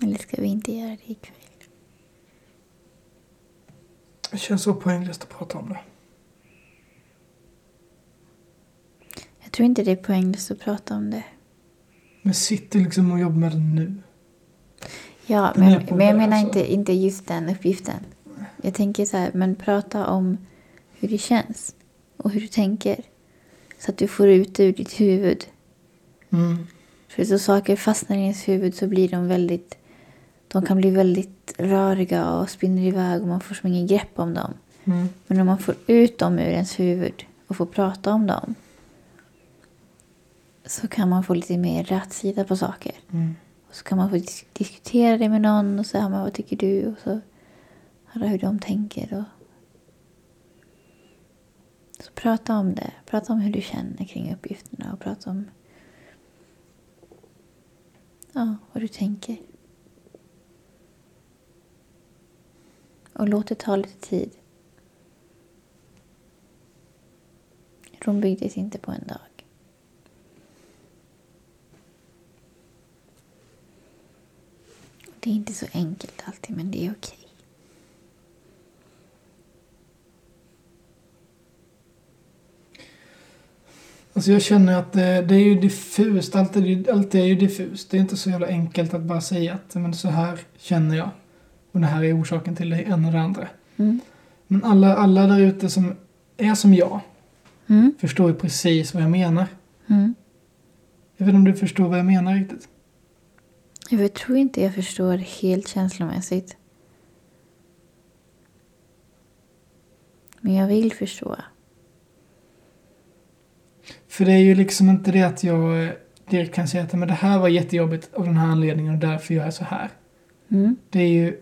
Speaker 2: Eller ska vi inte göra det ikväll?
Speaker 1: Det känns så poänglöst att prata om det.
Speaker 2: Jag tror inte det är poänglöst att prata om det.
Speaker 1: Men sitter liksom och jobbar med det nu.
Speaker 2: Ja,
Speaker 1: Den
Speaker 2: men,
Speaker 1: är på
Speaker 2: men jag
Speaker 1: väg,
Speaker 2: menar
Speaker 1: alltså.
Speaker 2: inte, inte just den uppgiften. Jag tänker så här, men prata om hur det känns och hur du tänker. Så att du får ut det ur ditt huvud.
Speaker 1: Mm.
Speaker 2: För så saker fastnar i ens huvud så blir de väldigt... De kan bli väldigt röriga och spinner iväg och man får som ingen grepp om dem.
Speaker 1: Mm.
Speaker 2: Men om man får ut dem ur ens huvud och får prata om dem så kan man få lite mer rätsida på saker.
Speaker 1: Mm.
Speaker 2: Och så kan man få dis- diskutera det med någon och så hör man vad tycker du och så hör hur de tänker. Och... Så prata om det. Prata om hur du känner kring uppgifterna och prata om ja, vad du tänker. Och låt det ta lite tid. Rom byggdes inte på en dag. Det är inte så enkelt alltid, men det är okej.
Speaker 1: Alltså jag känner att det, det är ju diffust. Allt är, ju- allt är ju diffust. Det är inte så jävla enkelt att bara säga att men så här känner jag. Och det här är orsaken till det ena och det andra.
Speaker 2: Mm.
Speaker 1: Men alla, alla där ute som är som jag
Speaker 2: Mm.
Speaker 1: förstår ju precis vad jag menar.
Speaker 2: Mm.
Speaker 1: Jag vet inte om du förstår vad jag menar riktigt.
Speaker 2: Jag tror inte jag förstår helt känslomässigt. Men jag vill förstå.
Speaker 1: För det är ju liksom inte det att jag eh, direkt kan säga att men det här var jättejobbigt av den här anledningen och därför gör jag så här.
Speaker 2: Mm.
Speaker 1: Det är ju...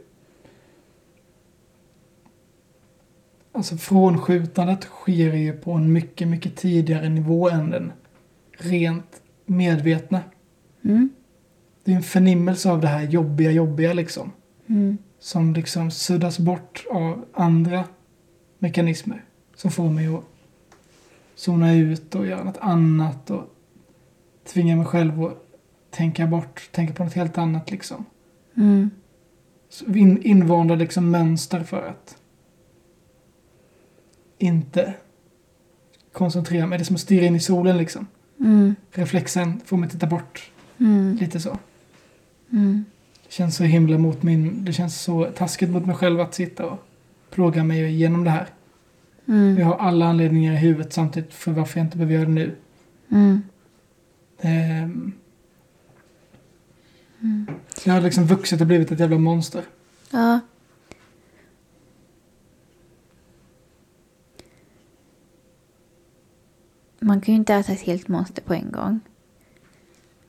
Speaker 1: Alltså frånskjutandet sker ju på en mycket, mycket tidigare nivå än den rent medvetna.
Speaker 2: Mm.
Speaker 1: Det är en förnimmelse av det här jobbiga, jobbiga liksom.
Speaker 2: Mm.
Speaker 1: Som liksom suddas bort av andra mekanismer. Som får mig att zona ut och göra något annat och tvinga mig själv att tänka bort, tänka på något helt annat liksom.
Speaker 2: Mm.
Speaker 1: Så in, invanda liksom mönster för att inte koncentrera mig. Det är som att stirra in i solen liksom.
Speaker 2: Mm.
Speaker 1: Reflexen får mig titta bort
Speaker 2: Mm.
Speaker 1: lite så.
Speaker 2: Mm.
Speaker 1: Det känns så himla mot min... Det känns så taskigt mot mig själv att sitta och plåga mig igenom det här.
Speaker 2: Mm.
Speaker 1: Jag har alla anledningar i huvudet samtidigt för varför jag inte behöver göra det nu.
Speaker 2: Mm.
Speaker 1: Ehm.
Speaker 2: mm.
Speaker 1: Jag har liksom vuxit och blivit ett jävla monster.
Speaker 2: Ja. Man kan ju inte äta ett helt monster på en gång.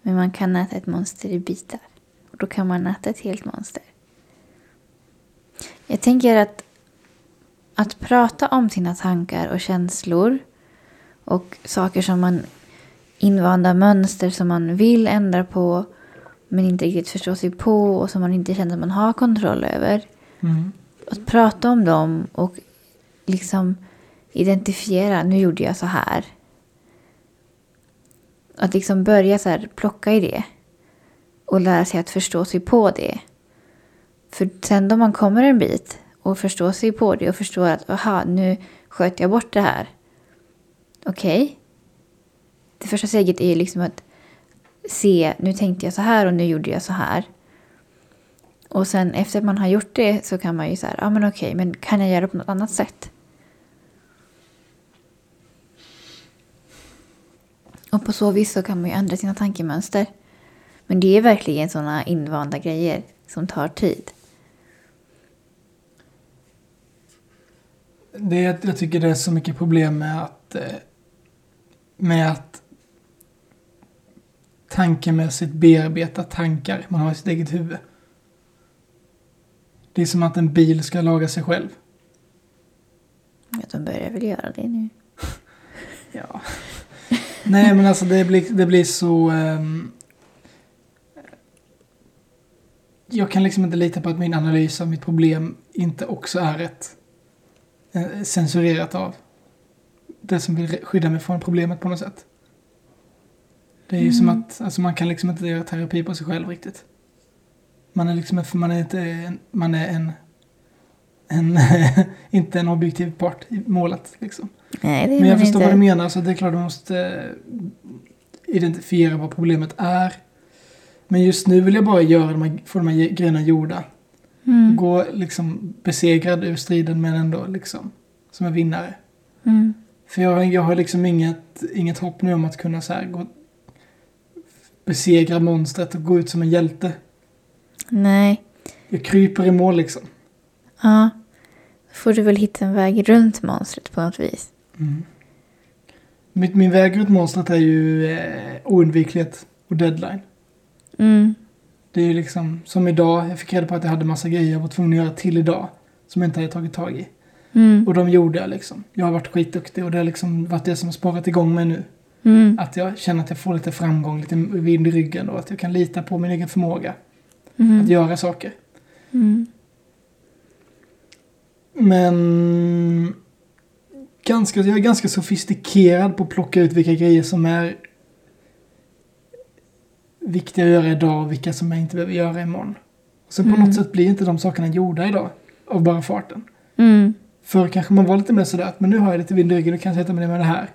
Speaker 2: Men man kan äta ett monster i bitar. Och då kan man äta ett helt monster. Jag tänker att att prata om sina tankar och känslor och saker som man invanda mönster som man vill ändra på men inte riktigt förstår sig på och som man inte känner att man har kontroll över
Speaker 1: Mm.
Speaker 2: att prata om dem och liksom identifiera, nu gjorde jag så här. Att liksom börja så här, plocka i det och lära sig att förstå sig på det. För sen då man kommer en bit och förstår sig på det och förstår att aha, nu sköt jag bort det här. Okej. Det första steget är ju liksom att se, nu tänkte jag så här och nu gjorde jag så här. Och sen efter att man har gjort det så kan man ju så här, ja ah, men okej, men kan jag göra på något annat sätt? Och på så vis så kan man ju ändra sina tankemönster. Men det är verkligen sådana invanda grejer som tar tid.
Speaker 1: Det, är- jag tycker det är så mycket problem med att, eh, med att tankemässigt bearbeta tankar man har i sitt eget huvud. Det är som att en bil ska laga sig själv.
Speaker 2: Ja, de börjar väl göra det nu.
Speaker 1: Ja. <laughs> Nej, men alltså det blir, det blir så... ehm, jag kan liksom inte lita på att min analys av mitt problem inte också är ett eh, censurerat av det som vill skydda mig från problemet på något sätt. Det är ju som
Speaker 2: Mm.
Speaker 1: att alltså man kan liksom inte göra terapi på sig själv riktigt. Man är liksom för man är inte en, man är en, en <laughs> inte en objektiv part i målet liksom.
Speaker 2: Nej, det är
Speaker 1: Men jag
Speaker 2: man
Speaker 1: förstår
Speaker 2: inte.
Speaker 1: vad du menar, så det är klart du måste eh, identifiera vad problemet är. Men just nu vill jag bara göra de här, få de här grejerna gjorda.
Speaker 2: Mm.
Speaker 1: Gå liksom besegrad ur striden men ändå liksom som en vinnare.
Speaker 2: Mm.
Speaker 1: För jag, har- jag har liksom inget, inget hopp nu om att kunna så här gå, besegra monstret och gå ut som en hjälte.
Speaker 2: Nej,
Speaker 1: Jag kryper i mål liksom.
Speaker 2: ja. Då får du väl hitta en väg runt monstret på något vis.
Speaker 1: Mm. Min, min väg ut monstret är ju eh, oundviklighet och deadline.
Speaker 2: Mm.
Speaker 1: Det är ju liksom som idag, jag fick reda på att jag hade massa grejer jag var tvungen att göra till idag. Som jag inte hade tagit tag i.
Speaker 2: Mm.
Speaker 1: Och de gjorde jag liksom. Jag har varit skitduktig och det har liksom varit det som har sparat igång mig nu.
Speaker 2: Mm.
Speaker 1: Att jag känner att jag får lite framgång, lite vind i ryggen och att jag kan lita på min egen förmåga att
Speaker 2: Mm.
Speaker 1: göra saker.
Speaker 2: Mm.
Speaker 1: Men ganska, jag är ganska sofistikerad på att plocka ut vilka grejer som är viktiga att göra idag och vilka som jag inte behöver göra imorgon. Så på
Speaker 2: Mm.
Speaker 1: något sätt blir inte de sakerna gjorda idag av bara farten.
Speaker 2: Mm.
Speaker 1: Förr kanske man var lite mer sådär att men nu har jag lite vind i ryggen och kanske jag tar med det med det här.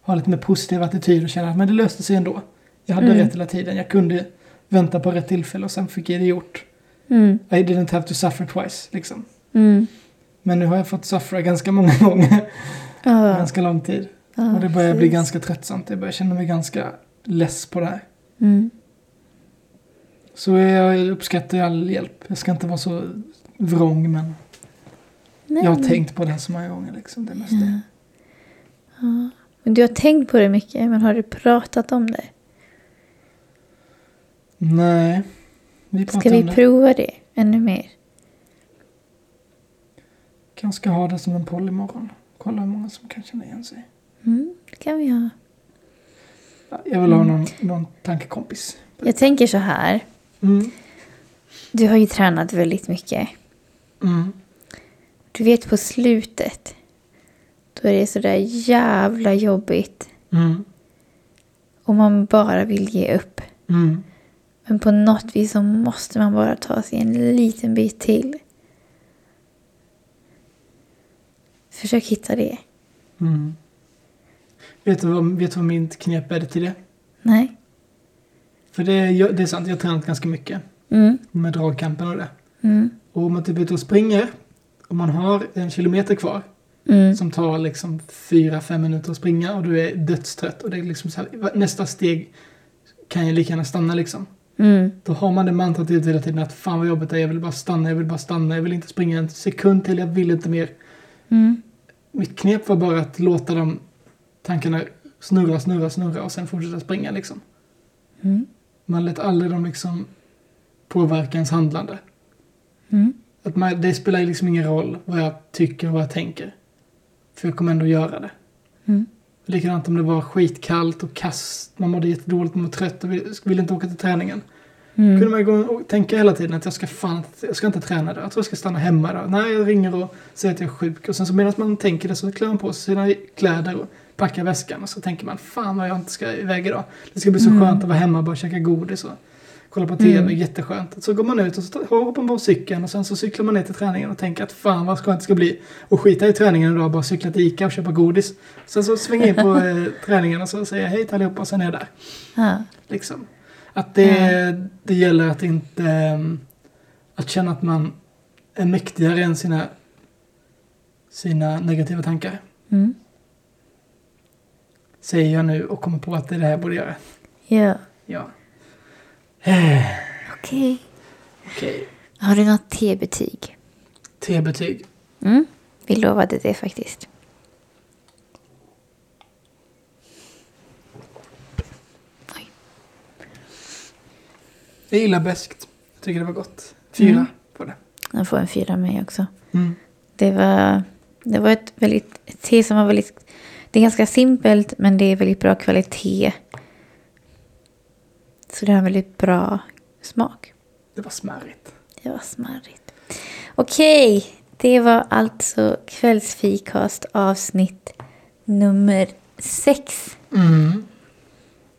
Speaker 1: Ha lite mer positiv attityd och känna att men det löste sig ändå. Jag hade
Speaker 2: Mm.
Speaker 1: rätt hela tiden. Jag kunde vänta på rätt tillfälle och sen fick jag det gjort.
Speaker 2: Mm.
Speaker 1: I didn't have to suffer twice liksom.
Speaker 2: Mm.
Speaker 1: Men nu har jag fått suffra ganska många <laughs> gånger,
Speaker 2: Ja.
Speaker 1: ganska lång tid.
Speaker 2: Ja,
Speaker 1: Och det börjar bli
Speaker 2: precis.
Speaker 1: ganska tröttsamt, jag börjar känna mig ganska less på det här.
Speaker 2: Mm.
Speaker 1: Så jag uppskattar ju all hjälp, jag ska inte vara så vrång men
Speaker 2: Nej,
Speaker 1: jag har
Speaker 2: men-
Speaker 1: tänkt på det här så många gånger liksom. Det mesta.
Speaker 2: Ja. Ja. Men du har tänkt på det mycket, men har du pratat om det?
Speaker 1: Nej, vi pratar
Speaker 2: Ska
Speaker 1: om
Speaker 2: vi
Speaker 1: det.
Speaker 2: prova det ännu mer?
Speaker 1: Kanske ska ha det som en poll imorgon. Kolla hur många som kan känna igen sig.
Speaker 2: Mm, det kan vi ha.
Speaker 1: Jag vill ha någon, någon tankekompis.
Speaker 2: Jag tänker så här.
Speaker 1: Mm.
Speaker 2: Du har ju tränat väldigt mycket.
Speaker 1: Mm.
Speaker 2: Du vet på slutet. Då är det sådär jävla jobbigt.
Speaker 1: Mm.
Speaker 2: Och man bara vill ge upp.
Speaker 1: Mm.
Speaker 2: Men på något vis så måste man bara ta sig en liten bit till. Försök hitta det.
Speaker 1: Mm. Vet, du vad, vet du vad mitt knep är till det?
Speaker 2: Nej?
Speaker 1: För det är, jag- det är sant, jag har tränat ganska mycket
Speaker 2: Mm.
Speaker 1: med dragkampen och det.
Speaker 2: Mm.
Speaker 1: Och om man typ är ute och springer, om man har en kilometer kvar
Speaker 2: Mm.
Speaker 1: som tar liksom fyra fem minuter att springa och du är dödstrött och det är liksom så här, nästa steg kan ju lika gärna stanna liksom.
Speaker 2: Mm.
Speaker 1: Då har man det mantrat ut hela tiden att fan vad jobbigt det är, jag vill bara stanna, jag vill bara stanna, jag vill inte springa en sekund till, jag vill inte mer.
Speaker 2: Mm.
Speaker 1: Mitt knep var bara att låta de tankarna snurra, snurra, snurra och sen fortsätta springa liksom.
Speaker 2: Mm.
Speaker 1: Man lät aldrig dem liksom påverka ens handlande.
Speaker 2: Mm.
Speaker 1: Att man, det spelar liksom ingen roll vad jag tycker och vad jag tänker. För jag kommer ändå göra det.
Speaker 2: Mm.
Speaker 1: Likadant om det var skitkallt och kast, man mådde jättedåligt, man var trött och ville, ville inte åka till träningen. Kunde
Speaker 2: Mm.
Speaker 1: man gå och tänka hela tiden att jag ska fan jag ska inte träna idag, jag tror jag ska stanna hemma idag. Nej, jag ringer och säger att jag är sjuk. Och sen så medan man tänker det så klär man på sig sina kläder och packar väskan. Och så tänker man, fan vad jag inte ska iväg idag. Det ska bli så
Speaker 2: Mm.
Speaker 1: skönt att vara hemma och bara käka godis och kolla på TV,
Speaker 2: Mm.
Speaker 1: jätteskönt. Så går man ut och så tar- hoppar man på cykeln och sen så cyklar man ner till träningen och tänker att fan vad skönt det ska bli. Och skita i träningen idag, bara cykla till Ica och köpa godis. Sen så svänger jag in
Speaker 2: <laughs>
Speaker 1: på eh, träningen och så säger jag hej till allihopa och sen är jag där.
Speaker 2: Ja.
Speaker 1: Liksom. Att det, det gäller att inte ehm, Att känna att man är mäktigare än sina, sina negativa tankar.
Speaker 2: Mm.
Speaker 1: Säger jag nu och kommer på att det är det här jag borde göra.
Speaker 2: Ja.
Speaker 1: Ja. Eh,
Speaker 2: Okej.
Speaker 1: Okej.
Speaker 2: Har du något T-betyg?
Speaker 1: T-betyg.
Speaker 2: Mm. Vi lovade det faktiskt.
Speaker 1: Jag gillar beskt. Jag tycker det var gott. Fyra
Speaker 2: Mm.
Speaker 1: på det.
Speaker 2: Jag får en fyra av mig också.
Speaker 1: Mm.
Speaker 2: Det var, det var ett väldigt ett te som var väldigt... Det är ganska simpelt men det är väldigt bra kvalitet. Så det har en väldigt bra smak.
Speaker 1: Det var smarrigt.
Speaker 2: Det var smarrigt. Okej, det var alltså kvällsfikast avsnitt nummer sex.
Speaker 1: Mm.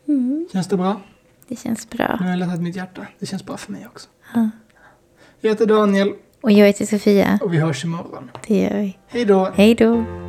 Speaker 2: Mm,
Speaker 1: Känns det bra?
Speaker 2: det känns bra.
Speaker 1: Nu har jag lättat mitt hjärta. Det känns bra för mig också.
Speaker 2: Ja.
Speaker 1: Jag heter Daniel
Speaker 2: Och jag heter Sofia.
Speaker 1: och vi hörs imorgon.
Speaker 2: Det gör vi.
Speaker 1: Hej då!
Speaker 2: Hej då!